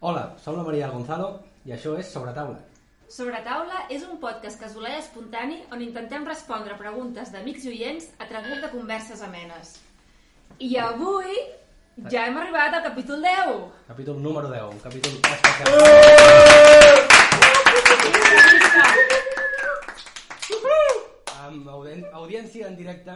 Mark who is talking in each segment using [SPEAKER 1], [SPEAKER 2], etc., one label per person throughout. [SPEAKER 1] Hola, som la Maria Gonzalo i això és Sobre Taula.
[SPEAKER 2] Sobre taula és un podcast casolà i espontani on intentem respondre preguntes d'amics i oients a través de converses amenes. I avui ja hem arribat al capítol 10.
[SPEAKER 1] Capítol número 10, un capítol especial. Amb auden- audiència en directe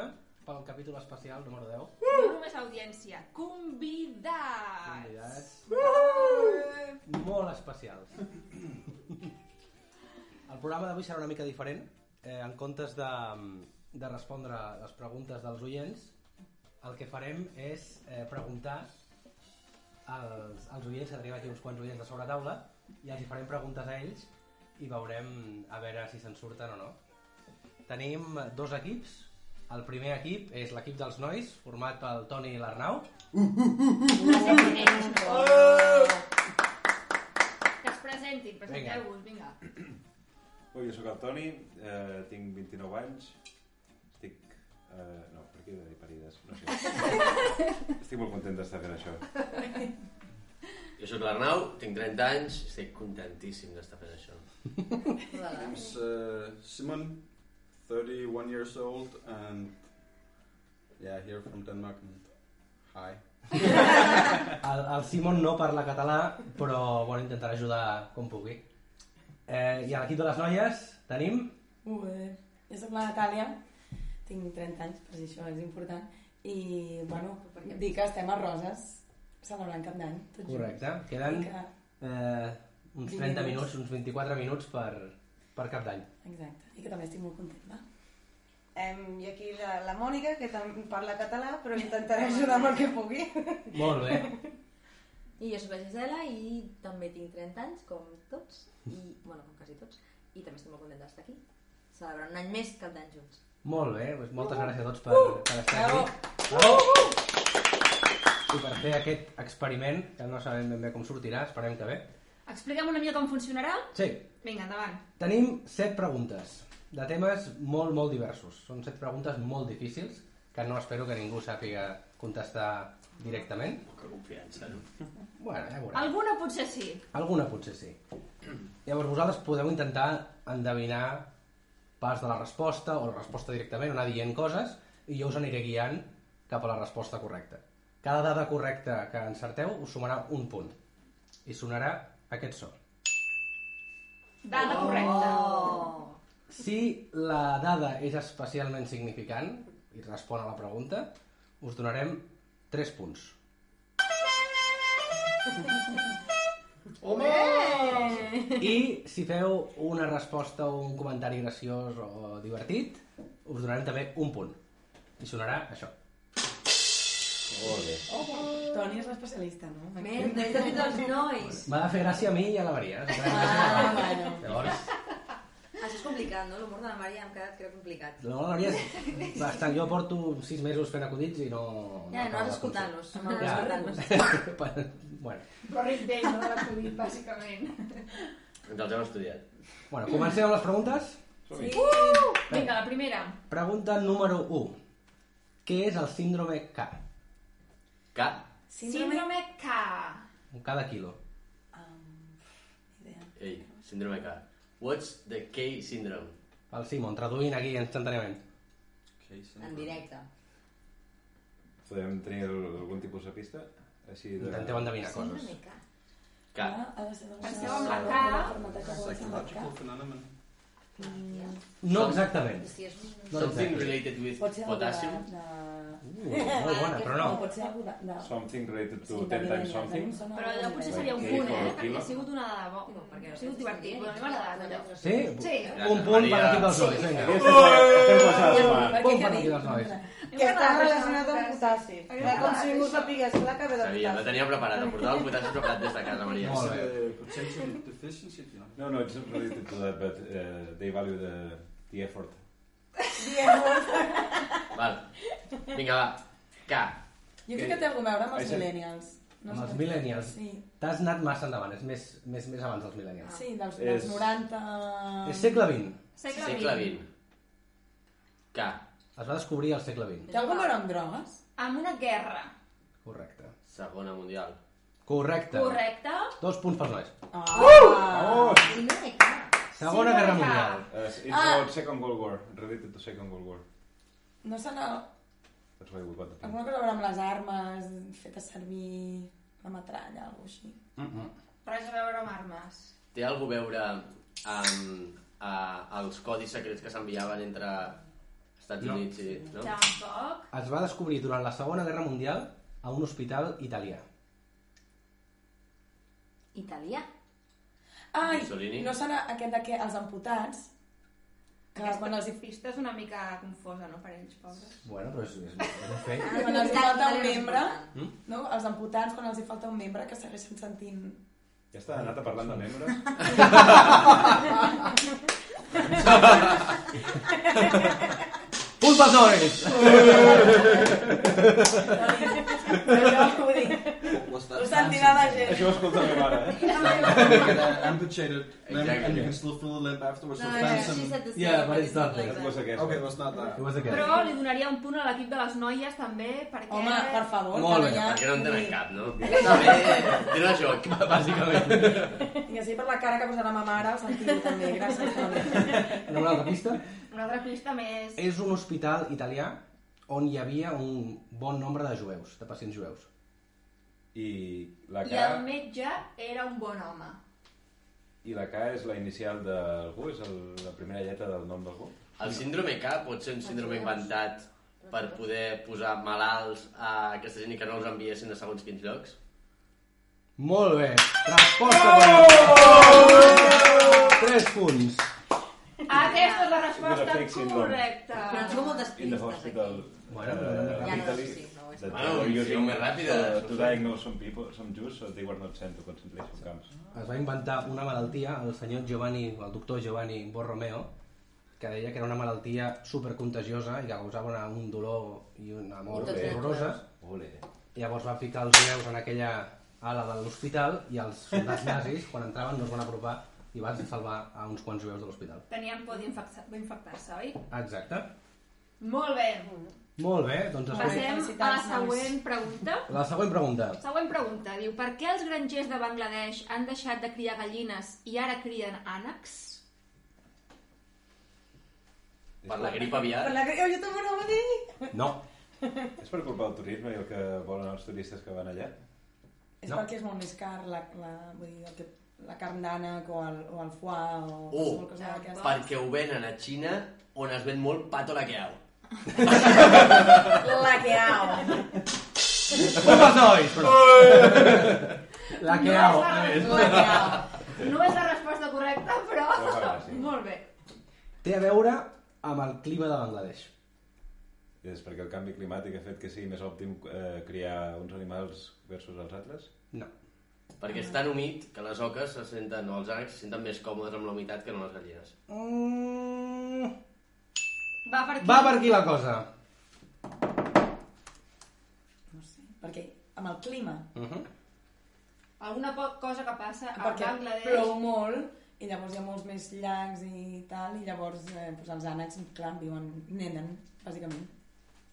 [SPEAKER 1] pel capítol especial número 10.
[SPEAKER 2] No només audiència, convidats!
[SPEAKER 1] Convidats molt especials. El programa d'avui serà una mica diferent. Eh, en comptes de, de respondre les preguntes dels oients, el que farem és eh, preguntar als, als oients, que tenim aquí uns quants oients de sobre taula, i els hi farem preguntes a ells i veurem a veure si se'n surten o no. Tenim dos equips. El primer equip és l'equip dels nois, format pel Toni i l'Arnau.
[SPEAKER 2] Que es presentin, presenteu-vos, vinga.
[SPEAKER 3] Oi, jo sóc el Toni, eh, tinc 29 anys, estic... Eh, no, per què he de dir parides? No sé. estic molt content d'estar fent això.
[SPEAKER 4] Jo sóc l'Arnau, tinc 30 anys, estic contentíssim d'estar fent això.
[SPEAKER 5] name's uh, Simon, 31 years old, and yeah, here from Denmark. And hi.
[SPEAKER 1] El, el Simon no parla català, però bueno, intentarà ajudar com pugui. Eh, I a l'equip de les noies tenim...
[SPEAKER 6] Ué. Jo sóc la Natàlia, tinc 30 anys, per si això és important, i, bueno, dir que estem a Roses, celebrant cap d'any. tot junts.
[SPEAKER 1] Correcte. Queden
[SPEAKER 6] I que-
[SPEAKER 1] eh, uns 30
[SPEAKER 6] Vint
[SPEAKER 1] minuts,
[SPEAKER 6] minuts.
[SPEAKER 1] uns 24 minuts per, per cap d'any.
[SPEAKER 6] Exacte, i que també estic molt contenta.
[SPEAKER 7] Em, I aquí la, la Mònica, que també parla català, però intentaré ajudar amb el que pugui.
[SPEAKER 1] Molt bé.
[SPEAKER 8] I jo sóc la Gisela i també tinc 30 anys, com tots, i, bueno, com quasi tots, i també estic molt contenta d'estar aquí. Celebrant un any més cap d'any junts.
[SPEAKER 1] Molt bé. Doncs moltes gràcies a tots per, per estar aquí. Bravo. Uh! I per fer aquest experiment, que no sabem ben bé com sortirà, esperem que bé.
[SPEAKER 2] Expliquem una mica com funcionarà.
[SPEAKER 1] Sí,
[SPEAKER 2] Vinga, endavant.
[SPEAKER 1] Tenim set preguntes de temes molt, molt diversos. Són set preguntes molt difícils que no espero que ningú sàpiga contestar directament.
[SPEAKER 4] Poca confiança, no?
[SPEAKER 1] Bueno, ja veurem.
[SPEAKER 2] Alguna potser sí.
[SPEAKER 1] Alguna potser sí. Llavors vosaltres podeu intentar endevinar parts de la resposta o la resposta directament, anar dient coses i jo us aniré guiant cap a la resposta correcta. Cada dada correcta que encerteu us sumarà un punt i sonarà aquest so.
[SPEAKER 8] Oh.
[SPEAKER 2] Dada correcta.
[SPEAKER 1] Si la dada és especialment significant i respon a la pregunta, us donarem 3 punts. Home! I si feu una resposta o un comentari graciós o divertit, us donarem també un punt. I sonarà això.
[SPEAKER 3] Molt bé.
[SPEAKER 6] Toni és l'especialista, no?
[SPEAKER 8] Merda, he dit els nois!
[SPEAKER 1] M'ha de fer gràcia a mi i a la Maria.
[SPEAKER 6] Ah, bueno.
[SPEAKER 1] Llavors,
[SPEAKER 8] Això és complicat, no? L'humor de la Maria em queda, crec, complicat.
[SPEAKER 1] la Maria és bastant... Jo porto 6 mesos fent acudits i no...
[SPEAKER 8] Ja, no
[SPEAKER 1] acabo
[SPEAKER 8] has
[SPEAKER 1] de
[SPEAKER 8] escoltat-los, no has
[SPEAKER 1] Ja.
[SPEAKER 8] escoltat-los.
[SPEAKER 1] bueno,
[SPEAKER 2] Corrit d'ell, no de l'acudit, bàsicament.
[SPEAKER 4] Ens els hem estudiat.
[SPEAKER 1] bueno, comencem amb les preguntes.
[SPEAKER 2] Vinga, la primera.
[SPEAKER 1] Pregunta número 1. Què és el síndrome K?
[SPEAKER 4] K.
[SPEAKER 6] Síndrome...
[SPEAKER 2] Síndrome K.
[SPEAKER 1] Un K de quilo.
[SPEAKER 6] Síndrome...
[SPEAKER 4] Ei, síndrome K. What's the K syndrome?
[SPEAKER 1] El Simon, traduint aquí instantàniament.
[SPEAKER 5] Case
[SPEAKER 8] En directe.
[SPEAKER 3] Podem tenir algun tipus de pista? Així de...
[SPEAKER 1] Intenteu endevinar coses.
[SPEAKER 8] Síndrome K.
[SPEAKER 4] K.
[SPEAKER 6] Ha de ser
[SPEAKER 2] Penseu en la K.
[SPEAKER 6] forma que acabo de ser la K.
[SPEAKER 5] Psychological phenomenon.
[SPEAKER 1] No exactament.
[SPEAKER 8] Si és un...
[SPEAKER 1] No
[SPEAKER 4] Something
[SPEAKER 1] exactament.
[SPEAKER 4] related with
[SPEAKER 6] Pot ser algú de...
[SPEAKER 4] potassium.
[SPEAKER 6] de...
[SPEAKER 1] Uh, molt bona, però
[SPEAKER 6] O
[SPEAKER 1] no.
[SPEAKER 6] pot ser algú de... de...
[SPEAKER 3] Something related
[SPEAKER 6] Sí,
[SPEAKER 3] to 10
[SPEAKER 6] de
[SPEAKER 3] times
[SPEAKER 6] millennials, a mi em
[SPEAKER 3] something.
[SPEAKER 6] sona
[SPEAKER 2] Però allò potser
[SPEAKER 6] de-
[SPEAKER 2] seria un
[SPEAKER 3] Ok,
[SPEAKER 2] punt, eh?
[SPEAKER 3] com el
[SPEAKER 2] Perquè
[SPEAKER 3] Pila.
[SPEAKER 2] ha sigut una de bo... Ha sigut divertit, però m'ha agradat allò.
[SPEAKER 1] Sí?
[SPEAKER 7] Sí.
[SPEAKER 1] Un punt per l'equip dels nois, vinga.
[SPEAKER 3] Aquesta és la- aquesta és la setmana.
[SPEAKER 6] Per
[SPEAKER 1] Bon per
[SPEAKER 6] què que
[SPEAKER 1] aquí,
[SPEAKER 6] dic?
[SPEAKER 1] les noies.
[SPEAKER 7] Que està relacionat amb potassi. Clar, com si ningú sapigués clar que ve de
[SPEAKER 4] Sabia, la
[SPEAKER 7] potassi.
[SPEAKER 4] tenia preparat, em portava el potassi preparat des de casa, Maria.
[SPEAKER 1] Molt bé.
[SPEAKER 5] Uh, potential deficiency, you know.
[SPEAKER 3] No, no, it's not related to that, but uh, they value the, the effort.
[SPEAKER 4] Val. Vinga, va. K.
[SPEAKER 6] Jo crec que té alguna cosa a veure amb els
[SPEAKER 3] Això-
[SPEAKER 6] millennials.
[SPEAKER 1] Amb els
[SPEAKER 6] sé.
[SPEAKER 1] millennials.
[SPEAKER 6] Sí,
[SPEAKER 1] T'has anat massa endavant, és més, més, més abans dels mil·lennials.
[SPEAKER 6] sí dels, dels
[SPEAKER 3] És-
[SPEAKER 6] 90... Ah.
[SPEAKER 1] És segle XX.
[SPEAKER 4] Segle XX. K.
[SPEAKER 1] Es va descobrir al segle XX.
[SPEAKER 6] Té alguna cosa a veure amb drogues?
[SPEAKER 2] Amb una guerra,
[SPEAKER 1] Correcte.
[SPEAKER 4] Segona mundial.
[SPEAKER 1] Correcte.
[SPEAKER 2] correcte?
[SPEAKER 1] Dos punts pels nois.
[SPEAKER 6] Ah,
[SPEAKER 3] Oh!
[SPEAKER 1] Segona
[SPEAKER 2] Sí,
[SPEAKER 1] Guerra
[SPEAKER 2] correcte.
[SPEAKER 1] Mundial.
[SPEAKER 3] Uh, it's
[SPEAKER 6] Ah.
[SPEAKER 3] about Second World War, related to Second World War.
[SPEAKER 6] No se n'ha...
[SPEAKER 3] That's why we got the point.
[SPEAKER 6] Alguna cosa a veure amb les armes, fetes servir una metralla, alguna cosa així.
[SPEAKER 2] Res a veure amb armes.
[SPEAKER 4] Té alguna a veure amb a, els codis secrets que s'enviaven entre Estats
[SPEAKER 1] No.
[SPEAKER 4] Units i... No?
[SPEAKER 2] Tampoc.
[SPEAKER 1] Es va descobrir durant la Segona Guerra Mundial a un hospital italià.
[SPEAKER 8] Italià.
[SPEAKER 6] Ai,
[SPEAKER 4] Mussolini.
[SPEAKER 6] no serà aquest de que els amputats, que
[SPEAKER 2] Aquesta
[SPEAKER 6] quan els, hi-
[SPEAKER 2] pista és una mica confosa, no, per ells, pobres?
[SPEAKER 1] Bueno, però és, és, és un fet.
[SPEAKER 6] quan els hi falta un membre,
[SPEAKER 1] Mm?
[SPEAKER 6] no? els amputats quan els hi falta un membre que segueixen sentint...
[SPEAKER 3] Ja està, anat a parlant de membres.
[SPEAKER 1] Punt pels nois!
[SPEAKER 6] Però jo ho dic,
[SPEAKER 5] What's that?
[SPEAKER 6] ho sentirà la gent.
[SPEAKER 3] Això ho escolta la meva mare, eh?
[SPEAKER 5] You get an amputated limb
[SPEAKER 4] Exactly.
[SPEAKER 5] and you can still feel the limb afterwards.
[SPEAKER 8] No,
[SPEAKER 5] so
[SPEAKER 8] yeah,
[SPEAKER 5] find
[SPEAKER 8] she
[SPEAKER 5] some-
[SPEAKER 8] said the same,
[SPEAKER 1] Yeah, but
[SPEAKER 8] but
[SPEAKER 1] it's
[SPEAKER 8] it's
[SPEAKER 1] not
[SPEAKER 8] not
[SPEAKER 1] like
[SPEAKER 8] like
[SPEAKER 3] That was
[SPEAKER 8] that.
[SPEAKER 3] a guess.
[SPEAKER 5] Okay, it was not that.
[SPEAKER 1] It was a guess.
[SPEAKER 2] Però li donaria un punt a l'equip de les noies, també, perquè...
[SPEAKER 6] Home,
[SPEAKER 7] Eh,
[SPEAKER 6] per favor,
[SPEAKER 1] Molt bé,
[SPEAKER 6] que no hi ha...
[SPEAKER 4] Perquè no en tenen
[SPEAKER 6] ni-
[SPEAKER 4] cap, no? Tenen això, bàsicament.
[SPEAKER 6] I així per la cara que posarà ma mare, el sentiu també, gràcies. Toni.
[SPEAKER 1] No, una altra pista.
[SPEAKER 2] Una altra pista més...
[SPEAKER 1] És un hospital italià on hi havia un bon nombre de jueus, de pacients jueus.
[SPEAKER 3] I la
[SPEAKER 2] I el
[SPEAKER 3] K,
[SPEAKER 2] metge era un bon home.
[SPEAKER 3] i la K és la inicial d'algú, és el, la primera lletra del nom d'algú.
[SPEAKER 4] El síndrome K pot ser un síndrome inventat per poder posar malalts a aquesta gent i que no els enviessin a segons quins llocs.
[SPEAKER 1] Molt bé. Resposta correcta. Tres punts.
[SPEAKER 2] Aquesta és Ah, tota la
[SPEAKER 3] Era fake
[SPEAKER 2] resposta
[SPEAKER 3] syndrome.
[SPEAKER 2] correcta.
[SPEAKER 8] Però ens fem moltes
[SPEAKER 3] In the
[SPEAKER 8] pistes
[SPEAKER 3] hospital.
[SPEAKER 8] aquí.
[SPEAKER 1] Bueno, però no
[SPEAKER 3] eh,
[SPEAKER 1] era
[SPEAKER 8] Ja no,
[SPEAKER 3] Italy,
[SPEAKER 8] sí, no, és
[SPEAKER 3] that
[SPEAKER 4] Bueno,
[SPEAKER 3] they were
[SPEAKER 4] sí,
[SPEAKER 3] using
[SPEAKER 4] més ràpida.
[SPEAKER 3] to- To diagnose some people, some Jews, so they were not sent to concentration camps.
[SPEAKER 1] Es va inventar una malaltia, el senyor Giovanni, el doctor Giovanni Borromeo, que deia que era una malaltia supercontagiosa i que causava una, un dolor i una mort
[SPEAKER 3] Molt bé.
[SPEAKER 1] horroroses.
[SPEAKER 3] Ole.
[SPEAKER 1] Llavors van ficar els jueus en aquella ala de l'hospital i els soldats nazis, quan entraven, no es van apropar i van salvar a uns quants jueus de l'hospital.
[SPEAKER 2] Tenien por d'infectar- d'infectar-se, oi?
[SPEAKER 1] Exacte.
[SPEAKER 2] Molt bé.
[SPEAKER 1] Molt bé, doncs escolti.
[SPEAKER 2] Passem a la
[SPEAKER 6] Felicitats,
[SPEAKER 2] següent pregunta.
[SPEAKER 1] La següent pregunta.
[SPEAKER 2] Següent pregunta. Diu, per què els grangers de Bangladesh han deixat de criar gallines i ara crien ànecs?
[SPEAKER 4] Per la grip aviar.
[SPEAKER 7] Per la que... Jo també ho va dir.
[SPEAKER 1] No.
[SPEAKER 3] És per culpa del turisme i el que volen els turistes que van allà?
[SPEAKER 6] És
[SPEAKER 1] No.
[SPEAKER 6] perquè és molt més car la, la, vull dir, el que, la carn d'ànec o el, o el foie o
[SPEAKER 4] Oh.
[SPEAKER 6] qualsevol cosa d'aquesta.
[SPEAKER 4] Perquè ho venen a Xina on es ven molt pato la queau.
[SPEAKER 6] La que au!
[SPEAKER 1] Punt pels nois, però. La que au.
[SPEAKER 6] La que au!
[SPEAKER 2] No és la resposta correcta, però...
[SPEAKER 3] Però fa gràcia.
[SPEAKER 2] Molt bé.
[SPEAKER 1] Té a veure amb el clima de Bangladesh.
[SPEAKER 3] És perquè el canvi climàtic ha fet que sigui més òptim eh, criar uns animals versus els altres?
[SPEAKER 1] No.
[SPEAKER 4] Perquè és tan humit que les oques se senten, o els ànecs se senten més còmodes amb la humitat que no les gallines.
[SPEAKER 1] Mm,
[SPEAKER 2] Va per aquí.
[SPEAKER 1] va per aquí la cosa.
[SPEAKER 6] No sé, perquè amb el clima,
[SPEAKER 1] Uh -huh.
[SPEAKER 2] Alguna po- cosa que passa a
[SPEAKER 6] perquè
[SPEAKER 2] Bangladesh...
[SPEAKER 6] plou molt i llavors hi ha molts més llacs i tal, i llavors eh, doncs els ànecs, clar, viuen, neden, bàsicament,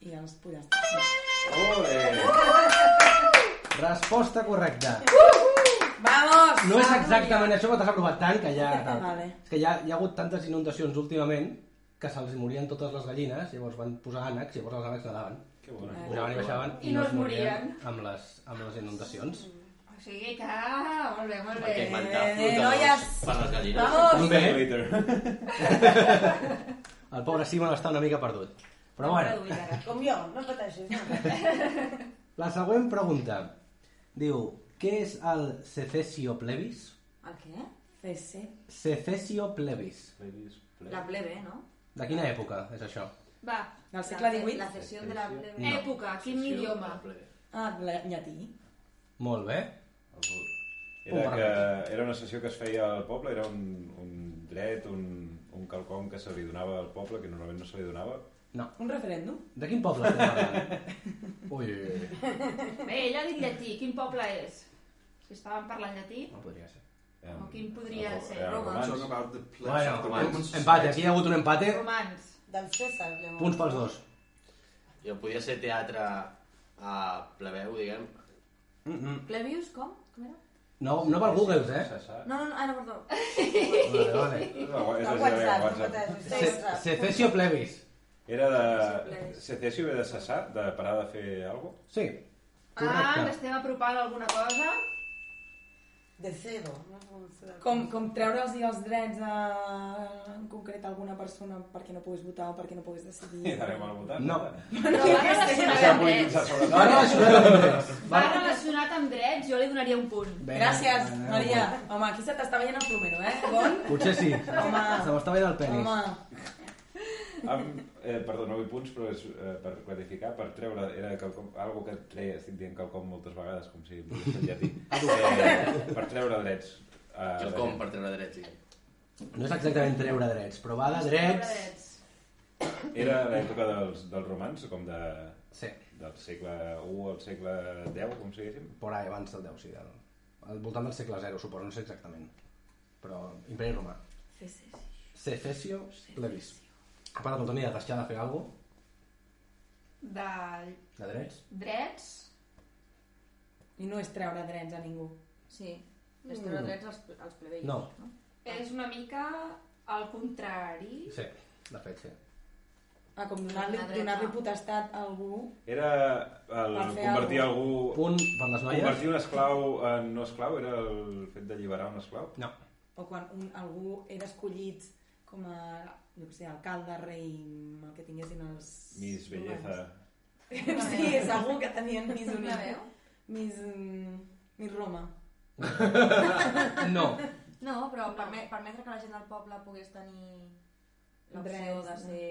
[SPEAKER 6] i els pollastres. no.
[SPEAKER 3] Ole!
[SPEAKER 1] Resposta correcta.
[SPEAKER 6] Vamos!
[SPEAKER 1] No és exactament això, però t'has aprovat tant que ja... Tal.
[SPEAKER 6] Vale.
[SPEAKER 1] És que hi ha, hi ha hagut tantes inundacions últimament que se'ls morien totes les gallines, llavors van posar ànecs, llavors
[SPEAKER 3] Ah.
[SPEAKER 1] els ànecs nadaven.
[SPEAKER 8] Eh,
[SPEAKER 3] Que bona.
[SPEAKER 1] Pujaven i baixaven
[SPEAKER 2] I no es morien.
[SPEAKER 1] amb les, amb les inundacions.
[SPEAKER 2] sigui que... ah, Molt bé, molt bé.
[SPEAKER 4] Perquè inventar
[SPEAKER 6] bé,
[SPEAKER 4] flotadors
[SPEAKER 6] noies.
[SPEAKER 4] per les gallines.
[SPEAKER 6] Vamos!
[SPEAKER 1] Bé.
[SPEAKER 3] Twitter.
[SPEAKER 1] El pobre Simon està una mica perdut. Però bueno,
[SPEAKER 2] Traduït ara.
[SPEAKER 7] Com jo, no pateixis.
[SPEAKER 1] la següent pregunta. Diu, què és el secesio plebis?
[SPEAKER 8] El què?
[SPEAKER 6] CC.
[SPEAKER 1] Secesio plebis.
[SPEAKER 3] Ladies, play.
[SPEAKER 8] La plebe, no?
[SPEAKER 1] De quina època és això?
[SPEAKER 2] Va,
[SPEAKER 6] Del segle
[SPEAKER 8] La
[SPEAKER 6] XVIII?
[SPEAKER 8] cessió de la plebe.
[SPEAKER 1] No.
[SPEAKER 2] època, quin idioma?
[SPEAKER 6] Ah, ble- llatí.
[SPEAKER 1] Molt bé.
[SPEAKER 3] Era,
[SPEAKER 1] Un
[SPEAKER 3] que, era una sessió que es feia al poble, era un, un dret, un, un quelcom que se li donava al poble, que normalment no se li donava.
[SPEAKER 1] No.
[SPEAKER 6] Un referèndum?
[SPEAKER 1] De quin poble estem parlant? Ui, ui, ui.
[SPEAKER 2] Bé, ell ha dit llatí, quin poble és? Si estaven parlant llatí...
[SPEAKER 1] No podria ser.
[SPEAKER 3] Eh,
[SPEAKER 2] O quin podria
[SPEAKER 3] eh,
[SPEAKER 2] ser?
[SPEAKER 3] eh,
[SPEAKER 8] Roma.
[SPEAKER 3] romans.
[SPEAKER 5] Talk about the pledge
[SPEAKER 1] Bueno,
[SPEAKER 5] of the Roman
[SPEAKER 1] em-
[SPEAKER 5] society.
[SPEAKER 1] empate. Aquí hi ha hagut un empate.
[SPEAKER 2] Romans.
[SPEAKER 7] Del César. l'hem-
[SPEAKER 1] Punts pels dos.
[SPEAKER 4] Jo podia ser teatre eh, plebeu, diguem.
[SPEAKER 8] Plebius, com? Com era?
[SPEAKER 1] No, no per Google, eh?
[SPEAKER 3] Cessar.
[SPEAKER 8] No, no,
[SPEAKER 2] ah,
[SPEAKER 8] no, ara, perdó.
[SPEAKER 1] Vale, vale.
[SPEAKER 3] No, és
[SPEAKER 7] No
[SPEAKER 3] la
[SPEAKER 7] WhatsApp,
[SPEAKER 3] Gina
[SPEAKER 7] no
[SPEAKER 3] WhatsApp.
[SPEAKER 7] pateixis.
[SPEAKER 1] Se-
[SPEAKER 7] César.
[SPEAKER 1] Secesio plebis.
[SPEAKER 3] Era de... Secesio ve de cessar, de parar de fer alguna
[SPEAKER 1] Sí.
[SPEAKER 2] Ah, ens
[SPEAKER 1] Correcte.
[SPEAKER 2] estem apropant a alguna cosa.
[SPEAKER 7] De cedo. No sé com se-
[SPEAKER 6] Com, com treure'ls els drets a, en concret a alguna persona perquè no puguis votar o perquè no puguis
[SPEAKER 3] I
[SPEAKER 6] decidir.
[SPEAKER 3] darem al votant.
[SPEAKER 1] No.
[SPEAKER 2] Però va relacionat
[SPEAKER 3] S'ha
[SPEAKER 2] amb drets.
[SPEAKER 3] polititzat sobre
[SPEAKER 1] Ara la xuleta de tres.
[SPEAKER 2] Va relacionat amb drets, jo li donaria un punt.
[SPEAKER 1] Bé,
[SPEAKER 6] Gràcies,
[SPEAKER 1] bueno,
[SPEAKER 6] Maria. Home, aquí se t'està veient el plomero, eh? Bon?
[SPEAKER 1] Potser sí. Home. Se m'està veient el penis.
[SPEAKER 6] Home,
[SPEAKER 3] Amb, eh, perdó, no vull punts, però és eh, per clarificar, per treure, era quelcom, algo que treia, estic dient quelcom moltes vegades, com si em volgués fer llatí,
[SPEAKER 1] Ah,
[SPEAKER 3] eh, per treure drets. Eh,
[SPEAKER 4] Jo com per treure drets, diguem.
[SPEAKER 1] No és exactament treure drets, però va de drets...
[SPEAKER 3] Era l'època dels, dels romans, com de,
[SPEAKER 1] Sí,
[SPEAKER 3] del segle I al segle X, com si diguéssim.
[SPEAKER 1] por ahí, abans del 10, sí. Del, al voltant del segle 0, suposo, no sé exactament. Però imperi romà. Secesio plebis. A part de Antoni de deixar de fer alguna cosa,
[SPEAKER 2] De
[SPEAKER 1] de drets,
[SPEAKER 2] drets,
[SPEAKER 6] i no és treure drets a ningú.
[SPEAKER 8] Sí. Les treure drets als, als plebeios.
[SPEAKER 1] No.
[SPEAKER 8] no?
[SPEAKER 2] és una mica al contrari.
[SPEAKER 1] sí, de fet, sí.
[SPEAKER 6] Ah, com donar-li
[SPEAKER 8] Donar drets,
[SPEAKER 6] donar
[SPEAKER 8] no?
[SPEAKER 6] potestat a algú.
[SPEAKER 3] Era el
[SPEAKER 6] Per fer
[SPEAKER 3] convertir algú...
[SPEAKER 1] Punt per les noies?
[SPEAKER 3] Convertir un esclau en no esclau era el fet d'alliberar un esclau?
[SPEAKER 1] No.
[SPEAKER 6] O quan un, algú era escollit com a, jo què sé, alcalde, rei, el que tinguessin els...
[SPEAKER 3] Miss Belleza...
[SPEAKER 6] Sí, segur que tenien Miss
[SPEAKER 8] Una
[SPEAKER 6] Unida.
[SPEAKER 8] veu?
[SPEAKER 6] Miss, mm, Miss Roma.
[SPEAKER 1] No.
[SPEAKER 8] No, però perme- permetre que la gent del poble pogués tenir l'opció
[SPEAKER 6] Drets,
[SPEAKER 8] de
[SPEAKER 6] no?
[SPEAKER 8] ser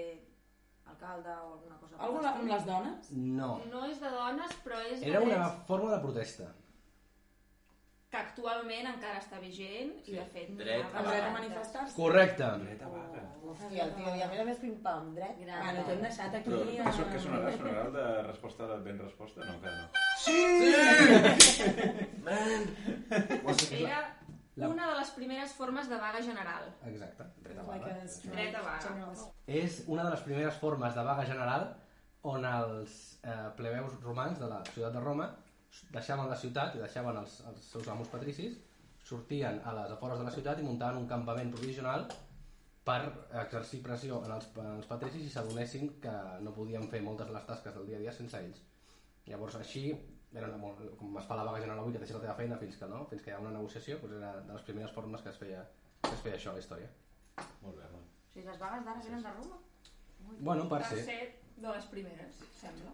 [SPEAKER 8] alcalde o alguna cosa. per
[SPEAKER 6] Alguna amb
[SPEAKER 8] l'estil.
[SPEAKER 6] les dones?
[SPEAKER 1] No.
[SPEAKER 2] No és de dones, però és de
[SPEAKER 1] Era una
[SPEAKER 2] drets
[SPEAKER 1] forma de protesta.
[SPEAKER 2] que actualment encara està vigent i de fet...
[SPEAKER 4] Dret
[SPEAKER 2] anava
[SPEAKER 4] a
[SPEAKER 6] El dret a
[SPEAKER 2] abans.
[SPEAKER 6] manifestar-se?
[SPEAKER 1] Correcte.
[SPEAKER 7] Hòstia, el tio, ja mira més pim-pam, dret.
[SPEAKER 8] Gran.
[SPEAKER 6] Bueno, t'hem deixat aquí...
[SPEAKER 3] Però,
[SPEAKER 6] a-
[SPEAKER 3] això que sonarà? Sonarà el de resposta de ben resposta? No, encara no.
[SPEAKER 2] Era
[SPEAKER 1] La-
[SPEAKER 2] una de les primeres formes de vaga general.
[SPEAKER 1] Exacte. Dret a
[SPEAKER 6] Like
[SPEAKER 1] vaga.
[SPEAKER 6] a strike.
[SPEAKER 2] Dret a vaga.
[SPEAKER 6] Generals.
[SPEAKER 1] és una de les primeres formes de vaga general on els eh, plebeus romans de la ciutat de Roma deixaven la ciutat i deixaven els, els seus amos patricis, sortien a les afores de la ciutat i muntaven un campament provisional per exercir pressió en els, en els patricis i s'adonessin que no podien fer moltes de les tasques del dia a dia sense ells. Llavors, així, era una, molt- com es fa la vaga general avui, que deixes la teva feina fins que, no, fins que hi ha una negociació, doncs era de les primeres formes que es feia, que es feia això a la història.
[SPEAKER 3] Molt bé, molt bé.
[SPEAKER 8] O sigui, les vagues d'ara venen de Roma?
[SPEAKER 1] Bueno, per
[SPEAKER 2] Va
[SPEAKER 1] ser.
[SPEAKER 2] ser de les primeres, sembla.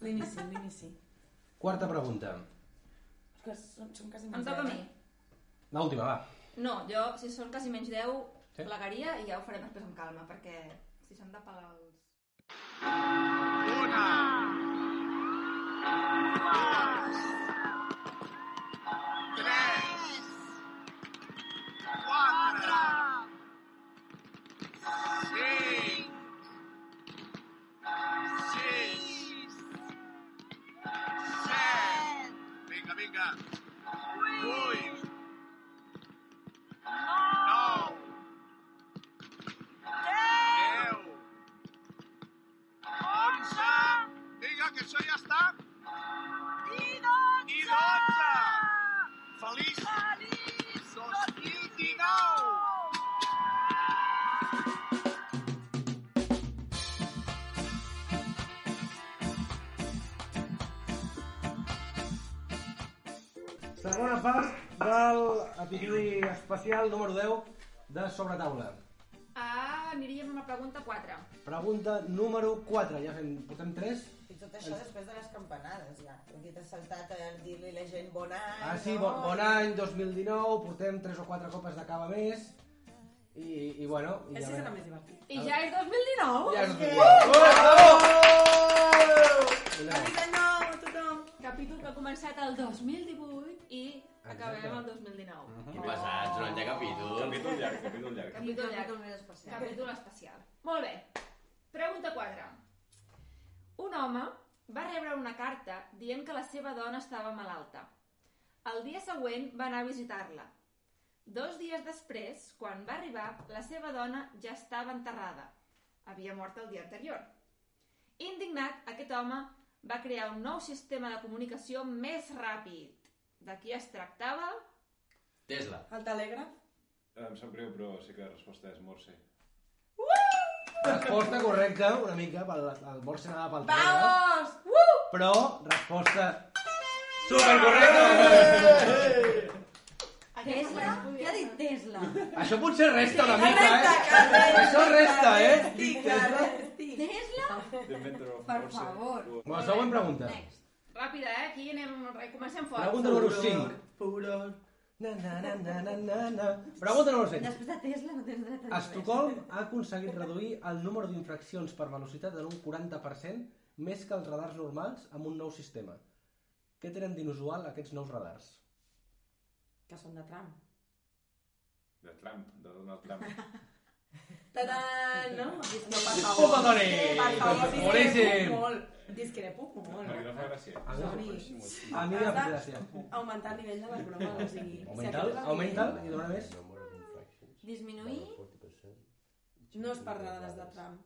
[SPEAKER 6] L'inici, l'inici.
[SPEAKER 1] Quarta pregunta.
[SPEAKER 6] És que són, són quasi...
[SPEAKER 2] Em toca a mi.
[SPEAKER 1] L'última, va.
[SPEAKER 2] No, jo, si són quasi menys 10,
[SPEAKER 1] Sí?
[SPEAKER 2] plegaria i ja ho farem després amb calma, perquè si s'han de pagar els...
[SPEAKER 9] Venga, venga. Uy. No. Deu. Onze. Vinga, que això ja està.
[SPEAKER 1] segona part del episodi especial número 10 de Sobretaula.
[SPEAKER 2] Ah, aniríem amb la pregunta 4.
[SPEAKER 1] Pregunta número 4, ja fem, portem 3.
[SPEAKER 10] I tot això després de les campanades, ja. Aquí t'has saltat a dir-li a la gent bon any,
[SPEAKER 1] Ah, sí,
[SPEAKER 10] no?
[SPEAKER 1] bon, bon any, 2019, portem 3 o 4 copes de cava més. I, i bueno... I
[SPEAKER 10] És que
[SPEAKER 1] veurem.
[SPEAKER 10] serà
[SPEAKER 6] més divertit.
[SPEAKER 2] I ja és 2019.
[SPEAKER 1] Ja és 2019.
[SPEAKER 2] Uh!
[SPEAKER 1] Feliç
[SPEAKER 2] any nou a tothom. Capítol que ha començat el 2018 i acabem el 2019.
[SPEAKER 1] Mhm.
[SPEAKER 4] Que pesats, un any de capítol.
[SPEAKER 3] Capítol llarg, capítol llarg.
[SPEAKER 2] Capítol llarg. Capítol especial. Capítol especial. Molt bé. Pregunta 4. Un home va rebre una carta dient que la seva dona estava malalta. El dia següent va anar a visitar-la. Dos dies després, quan va arribar, la seva dona ja estava enterrada. Havia mort el dia anterior. Indignat, aquest home va crear un nou sistema de comunicació més ràpid. De qui es tractava?
[SPEAKER 4] Tesla.
[SPEAKER 6] El telègraf?
[SPEAKER 3] Em sap greu, però sí que la resposta és Morse.
[SPEAKER 1] Resposta correcta, una mica, pel, el Borsa anava pel terra. eh?
[SPEAKER 6] Vamos!
[SPEAKER 1] Però, resposta...
[SPEAKER 6] Supercorrecta!
[SPEAKER 8] Tesla? Què ha dit Tesla?
[SPEAKER 1] Això potser resta una mica, eh? Això resta, eh?
[SPEAKER 8] Tesla?
[SPEAKER 2] Per favor.
[SPEAKER 1] La següent pregunta.
[SPEAKER 2] Ràpida, eh? Aquí anem, comencem fort.
[SPEAKER 1] Pregunta número 5. Na, na, na, na, na, na, na. Pregunta número 5.
[SPEAKER 8] Després de Tesla no tens dret a dir res.
[SPEAKER 1] Estocolm ha aconseguit reduir el número d'infraccions per velocitat en un 40% més que els radars normals amb un nou sistema. Què tenen d'inusual aquests nous radars?
[SPEAKER 6] Que són de tram.
[SPEAKER 3] De Trump, de Donald Trump.
[SPEAKER 6] Tadaan! No? No, per
[SPEAKER 1] Oh,
[SPEAKER 6] favor.
[SPEAKER 1] perdoni!
[SPEAKER 6] Per favor,
[SPEAKER 1] Boníssim!
[SPEAKER 6] discrepo molt. Discrepo molt.
[SPEAKER 3] A mi no fa gràcia.
[SPEAKER 1] A mi no fa
[SPEAKER 6] Sorry.
[SPEAKER 1] gràcia. A mi no fa
[SPEAKER 6] Has de
[SPEAKER 1] gràcia.
[SPEAKER 6] Augmentar el nivell de les bromes, o sigui... si
[SPEAKER 1] Augmenta'l,
[SPEAKER 6] aquest és el
[SPEAKER 1] augmenta'l
[SPEAKER 6] nivell,
[SPEAKER 1] i dona més.
[SPEAKER 8] Disminuir?
[SPEAKER 6] No és per radars de tram.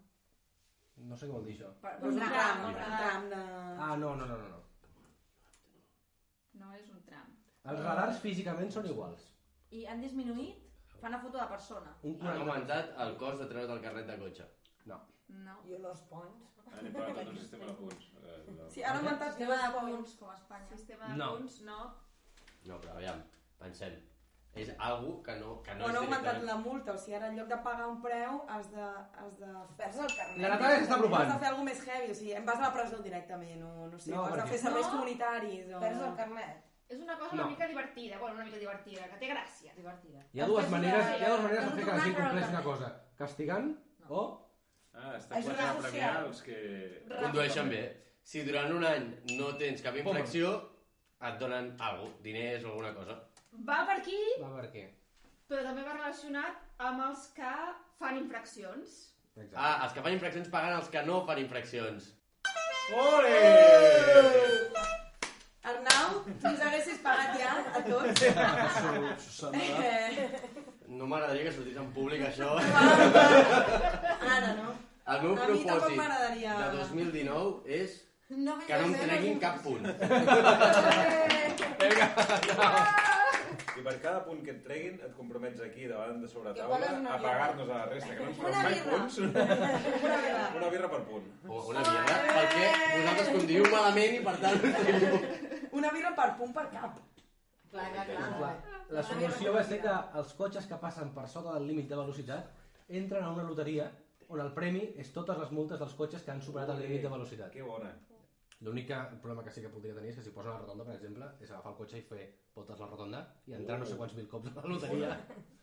[SPEAKER 1] No sé què vol dir això.
[SPEAKER 8] Per-
[SPEAKER 6] Un
[SPEAKER 8] tram,
[SPEAKER 6] tram,
[SPEAKER 8] un
[SPEAKER 6] un
[SPEAKER 8] tram.
[SPEAKER 6] tram de...
[SPEAKER 1] Ah, no, no, no, no. no.
[SPEAKER 8] No és un tram.
[SPEAKER 1] Els radars físicament són iguals.
[SPEAKER 8] I han disminuït? Fan una foto de persona.
[SPEAKER 1] Un
[SPEAKER 4] Han
[SPEAKER 1] 40%.
[SPEAKER 4] augmentat el cost de treure't el carnet de cotxe.
[SPEAKER 1] No.
[SPEAKER 8] No.
[SPEAKER 10] I los ponts.
[SPEAKER 3] Anem per tot un sistema de punts. Eh, de-
[SPEAKER 6] Sí, han augmentat el
[SPEAKER 8] Sistema
[SPEAKER 6] tema
[SPEAKER 8] de
[SPEAKER 6] de punts.
[SPEAKER 8] punts, com a Espanya.
[SPEAKER 2] Sistema de
[SPEAKER 4] No.
[SPEAKER 2] punts, no.
[SPEAKER 4] No, però aviam, pensem. És algú que no, que no
[SPEAKER 6] O han
[SPEAKER 4] és
[SPEAKER 6] augmentat
[SPEAKER 4] directament...
[SPEAKER 6] la multa, o sigui, ara en lloc de pagar un preu has de... Has de...
[SPEAKER 10] Perds el carnet.
[SPEAKER 1] La Natàlia s'està apropant.
[SPEAKER 6] Has de fer alguna més heavy, o sigui, em vas a la presó directament, o no sé,
[SPEAKER 1] No,
[SPEAKER 6] no, has de
[SPEAKER 1] perquè-
[SPEAKER 6] fer serveis
[SPEAKER 2] No.
[SPEAKER 6] comunitaris, o...
[SPEAKER 10] Perds el carnet.
[SPEAKER 2] És una cosa una
[SPEAKER 1] No.
[SPEAKER 2] mica divertida, bueno, una mica divertida, que té gràcia.
[SPEAKER 8] Divertida.
[SPEAKER 1] Hi ha dues
[SPEAKER 2] Després
[SPEAKER 1] maneres,
[SPEAKER 2] de-
[SPEAKER 1] hi ha dues maneres de
[SPEAKER 8] de
[SPEAKER 1] fer que la
[SPEAKER 8] tornar a treure
[SPEAKER 1] gent
[SPEAKER 8] el
[SPEAKER 1] compleixi una
[SPEAKER 8] carnet.
[SPEAKER 1] cosa. Castigant o...
[SPEAKER 3] Ah, està
[SPEAKER 10] Ajuda
[SPEAKER 3] quatre a premiar
[SPEAKER 10] social.
[SPEAKER 3] els que...
[SPEAKER 4] Condueixen bé. Si durant un any no tens cap infracció, et donen alguna cosa, diners o alguna cosa.
[SPEAKER 2] Va per aquí,
[SPEAKER 1] Va per què?
[SPEAKER 2] però també va relacionat amb els que fan infraccions.
[SPEAKER 1] Exacte.
[SPEAKER 4] Ah, els que fan infraccions paguen els que no fan infraccions.
[SPEAKER 6] Arnau, tu ens haguessis pagat ja a tots. Eh,
[SPEAKER 4] No m'agradaria que sortís en públic això.
[SPEAKER 6] ara, no?
[SPEAKER 4] El meu
[SPEAKER 6] A mi tampoc
[SPEAKER 4] propòsit
[SPEAKER 6] m'agradaria.
[SPEAKER 4] de 2019 és
[SPEAKER 8] No
[SPEAKER 4] que no em treguin cap punt.
[SPEAKER 3] I per cada punt que et treguin, et compromets aquí, davant de
[SPEAKER 10] Que
[SPEAKER 3] sobretaula,
[SPEAKER 10] volen una
[SPEAKER 3] a
[SPEAKER 10] birra.
[SPEAKER 3] pagar-nos a la resta, que no ens faran
[SPEAKER 10] Una
[SPEAKER 3] mai
[SPEAKER 10] birra.
[SPEAKER 3] punts. Una birra per punt.
[SPEAKER 4] O una birra, perquè vosaltres conduïu malament i per tant...
[SPEAKER 6] Una birra per punt per cap.
[SPEAKER 8] Clar, clar,
[SPEAKER 1] Clar, la solució va ser que els cotxes que passen per sota del límit de velocitat entren a una loteria on el premi és totes les multes dels cotxes que han superat el límit de velocitat.
[SPEAKER 3] Que bona.
[SPEAKER 1] L'únic que- el problema que sí que podria tenir és que si posen la rotonda, per exemple, és agafar el cotxe i fer voltes a la rotonda i entrar no sé quants mil cops a la loteria.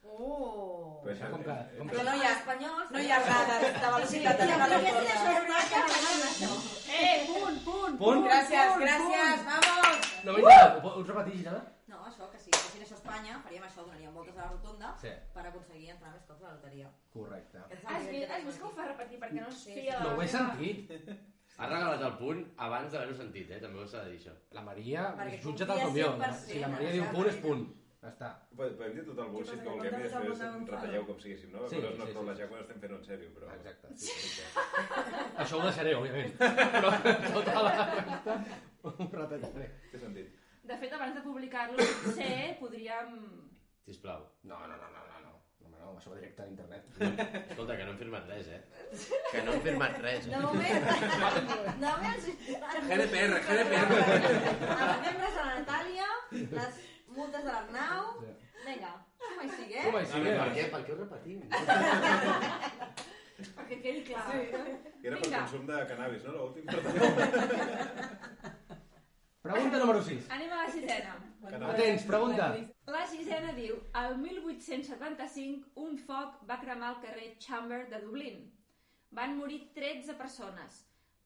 [SPEAKER 8] Oh.
[SPEAKER 3] Però això,
[SPEAKER 1] Ah, Com que, com que...
[SPEAKER 6] Però no hi ha,
[SPEAKER 8] Espanyols...
[SPEAKER 6] no hi ha radars de velocitat.
[SPEAKER 8] Si
[SPEAKER 6] de
[SPEAKER 8] em
[SPEAKER 6] cada
[SPEAKER 8] diguessin això,
[SPEAKER 6] cosa.
[SPEAKER 8] no hi ha radars.
[SPEAKER 2] Eh, punt, punt,
[SPEAKER 1] Punt?
[SPEAKER 6] Gràcies, gràcies, vamos!
[SPEAKER 1] No m'interessa. Ho pots repetir, Gisela?
[SPEAKER 8] No, això, que si fessin això a Espanya, faríem això, donaríem voltes a la rotonda
[SPEAKER 1] Sí.
[SPEAKER 8] per aconseguir entrar més cops a la loteria.
[SPEAKER 1] Correcte.
[SPEAKER 2] Has vist, has vist Ah, que ho fa repetir perquè no es fia
[SPEAKER 1] No
[SPEAKER 2] de la
[SPEAKER 1] ho he
[SPEAKER 2] meva-
[SPEAKER 1] sentit.
[SPEAKER 4] Has regalat el punt abans d'haver-ho sentit, eh? També ho s'ha de dir, això.
[SPEAKER 1] La Maria
[SPEAKER 8] Perquè
[SPEAKER 1] jutja del
[SPEAKER 8] confia
[SPEAKER 1] camió.
[SPEAKER 8] 100%,
[SPEAKER 1] Si la Maria
[SPEAKER 8] o
[SPEAKER 1] diu
[SPEAKER 8] sigui,
[SPEAKER 1] punt, és punt. Ja està.
[SPEAKER 3] Podem dir tot el bullshit que vulguem i després retalleu com siguéssim, no?
[SPEAKER 1] Sí,
[SPEAKER 3] Sí, no
[SPEAKER 1] sí, sí.
[SPEAKER 3] sí, sí. quan estem fent en sèrio, però...
[SPEAKER 1] Exacte. Això ho deixaré, òbviament. Però tota la resta ho retallaré.
[SPEAKER 3] Té sentit.
[SPEAKER 2] De fet, abans de publicar-lo, potser podríem...
[SPEAKER 4] Sisplau.
[SPEAKER 1] No, no, no, no, no. no. Home, no, això va directe a internet.
[SPEAKER 4] Escolta, que no hem firmat res, eh? Que no hem firmat res,
[SPEAKER 8] De
[SPEAKER 4] eh?
[SPEAKER 8] moment, de moment...
[SPEAKER 4] GDPR, GDPR.
[SPEAKER 8] Avancem-les a la Natàlia, les Multes de l'Arnau.
[SPEAKER 1] Sí.
[SPEAKER 8] Vinga, com així, eh?
[SPEAKER 4] Com així, eh? Per què? Per què ho repetim?
[SPEAKER 8] Perquè quedi clar. Sí.
[SPEAKER 3] Era per consum de cannabis, no? L'últim.
[SPEAKER 1] Pregunta número 6.
[SPEAKER 2] Anem a la sisena.
[SPEAKER 1] Atents, pregunta.
[SPEAKER 2] La sisena diu, el 1875 un foc va cremar el carrer Chamber de Dublín. Van morir 13 persones,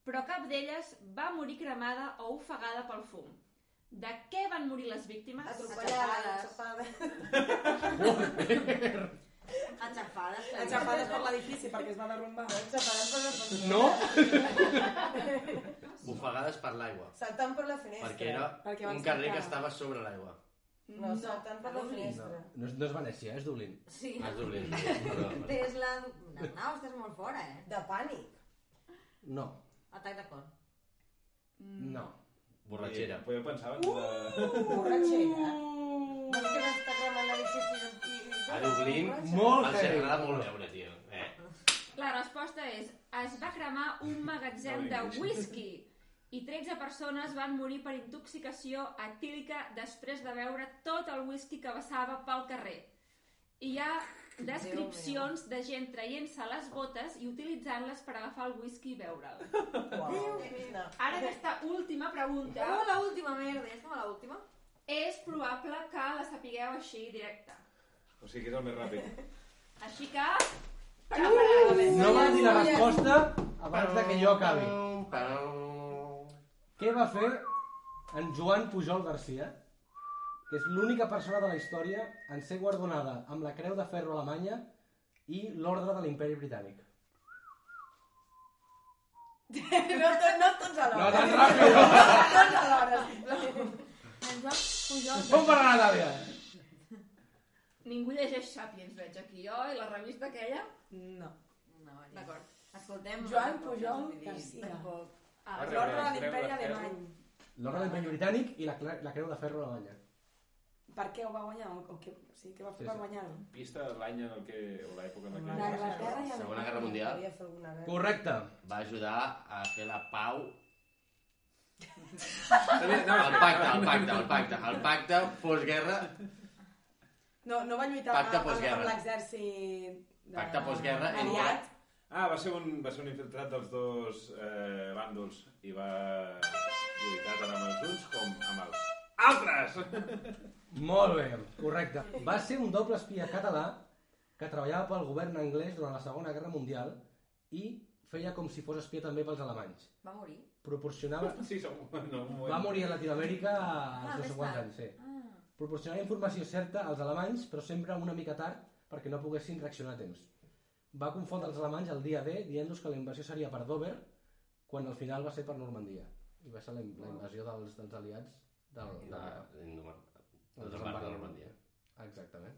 [SPEAKER 2] però cap d'elles va morir cremada o ofegada pel fum. De què van morir les víctimes?
[SPEAKER 8] Aixafades.
[SPEAKER 6] Aixafades per l'edifici perquè es va derrumbar.
[SPEAKER 10] Aixafades per l'edifici.
[SPEAKER 1] No?
[SPEAKER 4] Bufegades per l'aigua.
[SPEAKER 10] Saltant per la finestra.
[SPEAKER 4] Perquè era
[SPEAKER 10] Perquè van
[SPEAKER 4] un carrer que
[SPEAKER 10] saltar.
[SPEAKER 4] estava sobre l'aigua.
[SPEAKER 10] No, saltant per la finestra.
[SPEAKER 1] No, és- no és Venècia, és Dublín.
[SPEAKER 8] Sí.
[SPEAKER 4] Ah, és Dublín. Perdó, perdó.
[SPEAKER 8] Des la... L'Arnau estàs molt fora, eh?
[SPEAKER 10] De pànic.
[SPEAKER 1] No,
[SPEAKER 8] Atac de cor.
[SPEAKER 1] no.
[SPEAKER 4] Borratxera.
[SPEAKER 3] Però jo pensava que...
[SPEAKER 10] Uh! Borratxera. No és que m'està cremant l'edifici. i-
[SPEAKER 4] A Dublín
[SPEAKER 1] Molt
[SPEAKER 4] els
[SPEAKER 1] heavy.
[SPEAKER 4] agrada molt veure, tio. Eh.
[SPEAKER 2] La resposta és, es va cremar un magatzem de whisky i 13 persones van morir per intoxicació etílica després de beure tot el whisky que vessava pel carrer. I hi ha descripcions de gent traient-se les botes i utilitzant-les per agafar el whisky i beure'l. Ara aquesta última pregunta...
[SPEAKER 8] Acabo la última merda, ja estem a l'última.
[SPEAKER 2] És probable que la sapigueu així directa.
[SPEAKER 3] O sigui que és el més ràpid.
[SPEAKER 2] Així que... Uh!
[SPEAKER 1] No m'han dit la resposta abans de que jo acabi. Què va fer en Joan Pujol Garcia, que és l'única persona de la història en ser guardonada amb la Creu de Ferro Alemanya i l'Ordre de l'Imperi Britànic?
[SPEAKER 10] No, to, no tots alhora.
[SPEAKER 1] No tan ràpid.
[SPEAKER 10] No tots alhora, sisplau.
[SPEAKER 2] En Joan Pujol...
[SPEAKER 1] Com per anar, Dàvia?
[SPEAKER 2] Ningú llegeix Sapiens, veig aquí jo, i la revista aquella...
[SPEAKER 6] No.
[SPEAKER 8] No, ja.
[SPEAKER 2] D'acord.
[SPEAKER 8] Escoltem...
[SPEAKER 6] Joan Pujol Garcia.
[SPEAKER 8] Tampoc.
[SPEAKER 2] Ah,
[SPEAKER 6] L'ordre de l'imperi alemany.
[SPEAKER 1] L'Ordre de l'Imperi Britànic i la, cre- la Creu de Ferro Alemanya.
[SPEAKER 6] Per què ho va guanyar? O, o què, sí, què va fer
[SPEAKER 1] Sí,
[SPEAKER 6] per
[SPEAKER 1] sí.
[SPEAKER 6] guanyar-ho?
[SPEAKER 3] Pista de l'any en el que... o l'època en
[SPEAKER 6] La
[SPEAKER 3] la que...
[SPEAKER 6] Inglaterra i Alemanya.
[SPEAKER 4] Segona Guerra Mundial.
[SPEAKER 10] Devia fer alguna guerra.
[SPEAKER 1] Correcte.
[SPEAKER 4] Va ajudar a fer la pau
[SPEAKER 3] Sabia- no,
[SPEAKER 4] el pacte, el pacte, el pacte. El pacte postguerra,
[SPEAKER 6] No, no va lluitar
[SPEAKER 4] Pacte
[SPEAKER 6] amb, amb,
[SPEAKER 4] postguerra.
[SPEAKER 6] amb l'exèrcit... De...
[SPEAKER 4] pacte postguerra entre...
[SPEAKER 6] Aliat.
[SPEAKER 3] Ah, va ser, un, va ser un infiltrat dels dos eh, bàndols i va lluitar tant amb els uns com amb els altres.
[SPEAKER 1] Molt bé, correcte. Va ser un doble espia català que treballava pel govern anglès durant la Segona Guerra Mundial i feia com si fos espia també pels alemanys.
[SPEAKER 8] Va morir?
[SPEAKER 1] Proporcionava...
[SPEAKER 3] Sí, som, no, un moment.
[SPEAKER 1] Va morir a Latinoamèrica als
[SPEAKER 8] Ah,
[SPEAKER 1] ah,
[SPEAKER 8] més
[SPEAKER 1] 50
[SPEAKER 8] tard.
[SPEAKER 1] anys, sí.
[SPEAKER 8] Ah.
[SPEAKER 1] Proporcionava informació certa als alemanys, però sempre una mica tard perquè no poguessin reaccionar a temps. Va confondre els alemanys el dia D dient-los que la invasió seria per Dover quan al final va ser per Normandia. I va ser la, la invasió dels, dels aliats del, de,
[SPEAKER 4] De,
[SPEAKER 1] de,
[SPEAKER 4] de, de, de Normandia.
[SPEAKER 1] Exactament.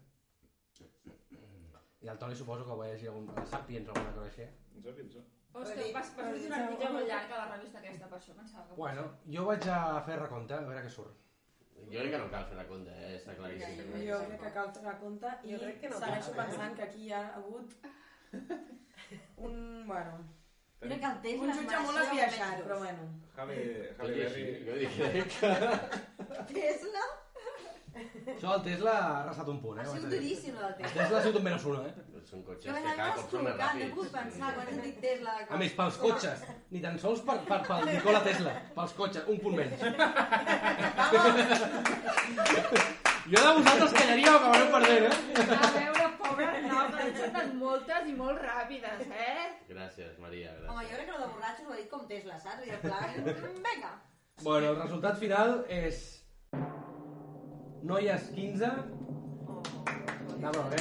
[SPEAKER 1] I el Toni suposo que ho va llegir algun de Sapiens o alguna cosa així.
[SPEAKER 3] Ens ha dit, no?
[SPEAKER 2] Hòstia, vas, vas fer un article molt llarg a la revista aquesta, per això pensava que...
[SPEAKER 1] Bueno, jo vaig a fer recompte, a veure què surt.
[SPEAKER 4] Jo crec que no cal fer la compte, eh? està claríssim.
[SPEAKER 6] Jo crec que cal fer compte i
[SPEAKER 10] Jo crec que no cal,
[SPEAKER 6] segueixo
[SPEAKER 10] eh?
[SPEAKER 6] pensant que aquí hi ha hagut un, bueno,
[SPEAKER 8] Mira que el temps...
[SPEAKER 6] un jutge molt esbiaixat, però bueno.
[SPEAKER 3] Javi,
[SPEAKER 4] Tot
[SPEAKER 3] Javi
[SPEAKER 4] i així,
[SPEAKER 3] Berry...
[SPEAKER 4] jo diria que...
[SPEAKER 8] Tesla?
[SPEAKER 1] Això el Tesla ha arrasat un punt, eh?
[SPEAKER 8] Ha
[SPEAKER 1] ho haig
[SPEAKER 8] sigut
[SPEAKER 1] de dir.
[SPEAKER 8] duríssim, la del
[SPEAKER 1] El
[SPEAKER 8] Tesla.
[SPEAKER 1] Tesla ha sigut un menys un, eh?
[SPEAKER 4] Són
[SPEAKER 8] Jo
[SPEAKER 4] cotxes
[SPEAKER 8] vaig
[SPEAKER 4] que
[SPEAKER 8] anar
[SPEAKER 4] cada cop són més
[SPEAKER 8] escoltant, no he pogut
[SPEAKER 4] ràpids.
[SPEAKER 8] pensar, quan he dit Tesla...
[SPEAKER 1] A més, pels cotxes, ni tan sols per, per, pel Nicola Tesla, pels cotxes, un punt menys. Jo de vosaltres callaríeu, acabareu perdent, eh?
[SPEAKER 2] A veure, pobre Arnau, que han sentat moltes i molt ràpides, eh?
[SPEAKER 4] Gràcies, Maria,
[SPEAKER 8] Home, jo
[SPEAKER 4] gràcies.
[SPEAKER 8] crec que lo de borratxos ho ha dit com Tesla, saps? I "Mm, el pla... Vinga!
[SPEAKER 1] Bueno, el resultat final és... Noies 15... Anava bé.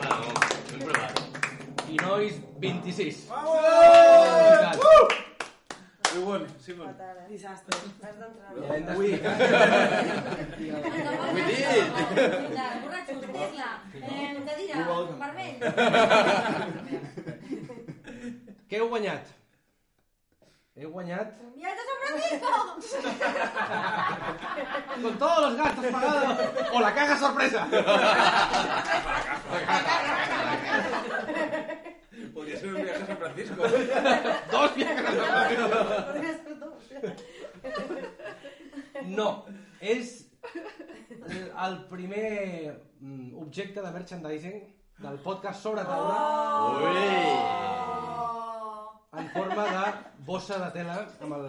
[SPEAKER 4] Va, home, hem provat.
[SPEAKER 1] I nois 26.
[SPEAKER 3] Vamos!
[SPEAKER 1] Uh!
[SPEAKER 3] We won, Simon.
[SPEAKER 10] Fatal, eh?
[SPEAKER 6] Desastre.
[SPEAKER 10] Has d'entrar.
[SPEAKER 1] Ja l'hem
[SPEAKER 3] Ui.
[SPEAKER 1] d'explicar.
[SPEAKER 4] Ho he dit!
[SPEAKER 8] Borratxos, Tesla, eh, cadira, vermell...
[SPEAKER 1] Què heu guanyat? Heu guanyat...
[SPEAKER 8] ¡Viajes a San Francisco!
[SPEAKER 1] Con todos los gastos pagados. O la caja sorpresa.
[SPEAKER 3] Podria ser un viatge a San Francisco.
[SPEAKER 1] Dos viajes al Pacífic.
[SPEAKER 10] Podries fer dos.
[SPEAKER 1] No, és eh, mm, objecte de merchandising del podcast sobre taula. En forma de bossa de tela amb el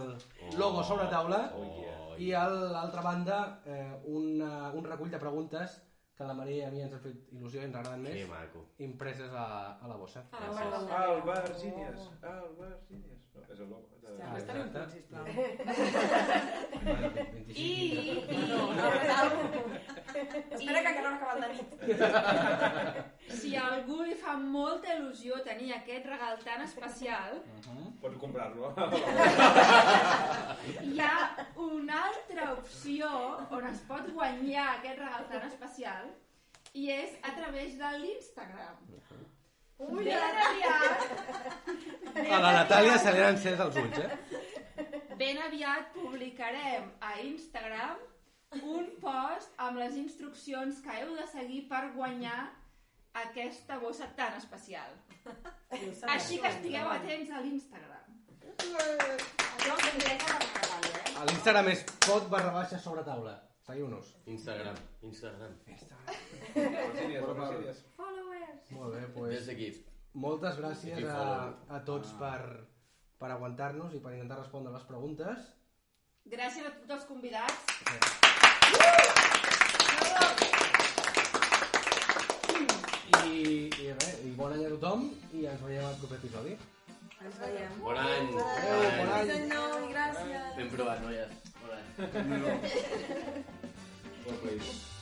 [SPEAKER 1] logo sobre taula.
[SPEAKER 4] Oh,
[SPEAKER 1] I a l'altra banda, eh, un, eh, un recull de preguntes que la Maria i a mi ens han fet il·lusió i ens agraden més,
[SPEAKER 4] Que maco.
[SPEAKER 1] impreses a, a la bossa.
[SPEAKER 3] Ah, el Virginias. Ah, el Virginias. No, és el logo.
[SPEAKER 1] Ah,
[SPEAKER 3] Exacte.
[SPEAKER 1] exacte.
[SPEAKER 2] I...
[SPEAKER 10] No, no, no. Espera que encara no ha acabat la nit.
[SPEAKER 2] Si a algú li fa molta il·lusió tenir aquest regal tan especial,
[SPEAKER 10] Ah.
[SPEAKER 3] Pots comprar-lo.
[SPEAKER 2] hi ha una altra opció on es pot guanyar aquest regal tan especial i és a través de l'Instagram. Ui, ve a
[SPEAKER 1] A la Natàlia se li han encès els ulls, eh?
[SPEAKER 2] Ben aviat publicarem a Instagram un post amb les instruccions que heu de seguir per guanyar aquesta bossa tan especial. Així que estigueu atents a l'Instagram.
[SPEAKER 1] A l'Instagram és pot barra baixa sobre taula. Seguiu-nos.
[SPEAKER 4] Instagram, Instagram.
[SPEAKER 1] Virgínies,
[SPEAKER 4] Instagram.
[SPEAKER 1] Virgínies. Molt bé, doncs...
[SPEAKER 4] Des d'aquí.
[SPEAKER 1] Moltes gràcies
[SPEAKER 4] Aquí
[SPEAKER 1] a,
[SPEAKER 4] follow.
[SPEAKER 1] a tots per, per aguantar-nos i per intentar respondre les preguntes.
[SPEAKER 2] Gràcies a tots els convidats.
[SPEAKER 1] I, i res, i bon any a tothom i ens veiem al proper episodi.
[SPEAKER 6] Ens veiem.
[SPEAKER 4] Bon any.
[SPEAKER 1] Adéu, bon any.
[SPEAKER 6] Senyor, gràcies.
[SPEAKER 4] Ben provat, noies. Bon any.
[SPEAKER 3] Well played.